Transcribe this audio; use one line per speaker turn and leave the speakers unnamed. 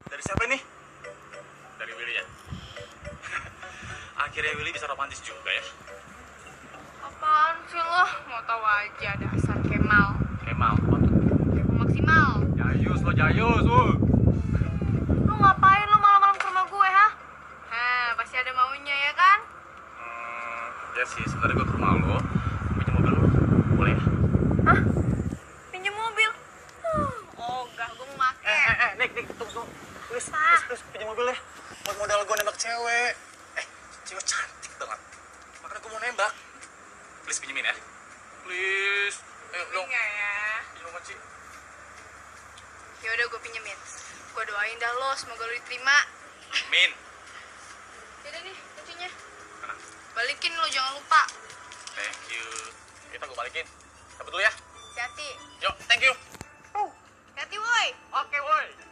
Dari siapa ini? Dari Willy ya. Akhirnya Willy bisa romantis juga ya.
Apaan sih lo? Mau tahu aja dasar Kemal.
Kemal, apa tuh?
Kemal maksimal.
Jayus lo Jayus, wuh.
Lu ngapain lu malam-malam ke rumah gue, ha? Hah, pasti ada maunya ya kan?
Hmm, ya sih, sebenarnya gue ke rumah lo. Pinjam mobil lo, boleh ya?
Hah? Pinjem mobil? Huh, Oh, enggak, gue mau make.
Eh, eh, eh, Nick, Nick, tunggu, tunggu. Please,
Apa?
please, please, pinjam mobil deh. Buat modal gue nembak cewek. Eh, cewek cantik banget. Makanya gue mau nembak. Please pinjemin ya. Please. Ayo, dong.
Enggak ya.
Pinjam dong, Ci.
Ya udah gue pinjemin. Gue doain dah lo, semoga lo diterima.
Min.
Yaudah nih, kuncinya.
Mana?
Balikin lo, jangan lupa.
Thank you. Kita gue balikin. Cabut dulu ya.
Hati-hati.
Yuk, thank you.
Hati-hati, woi.
Oke, woi.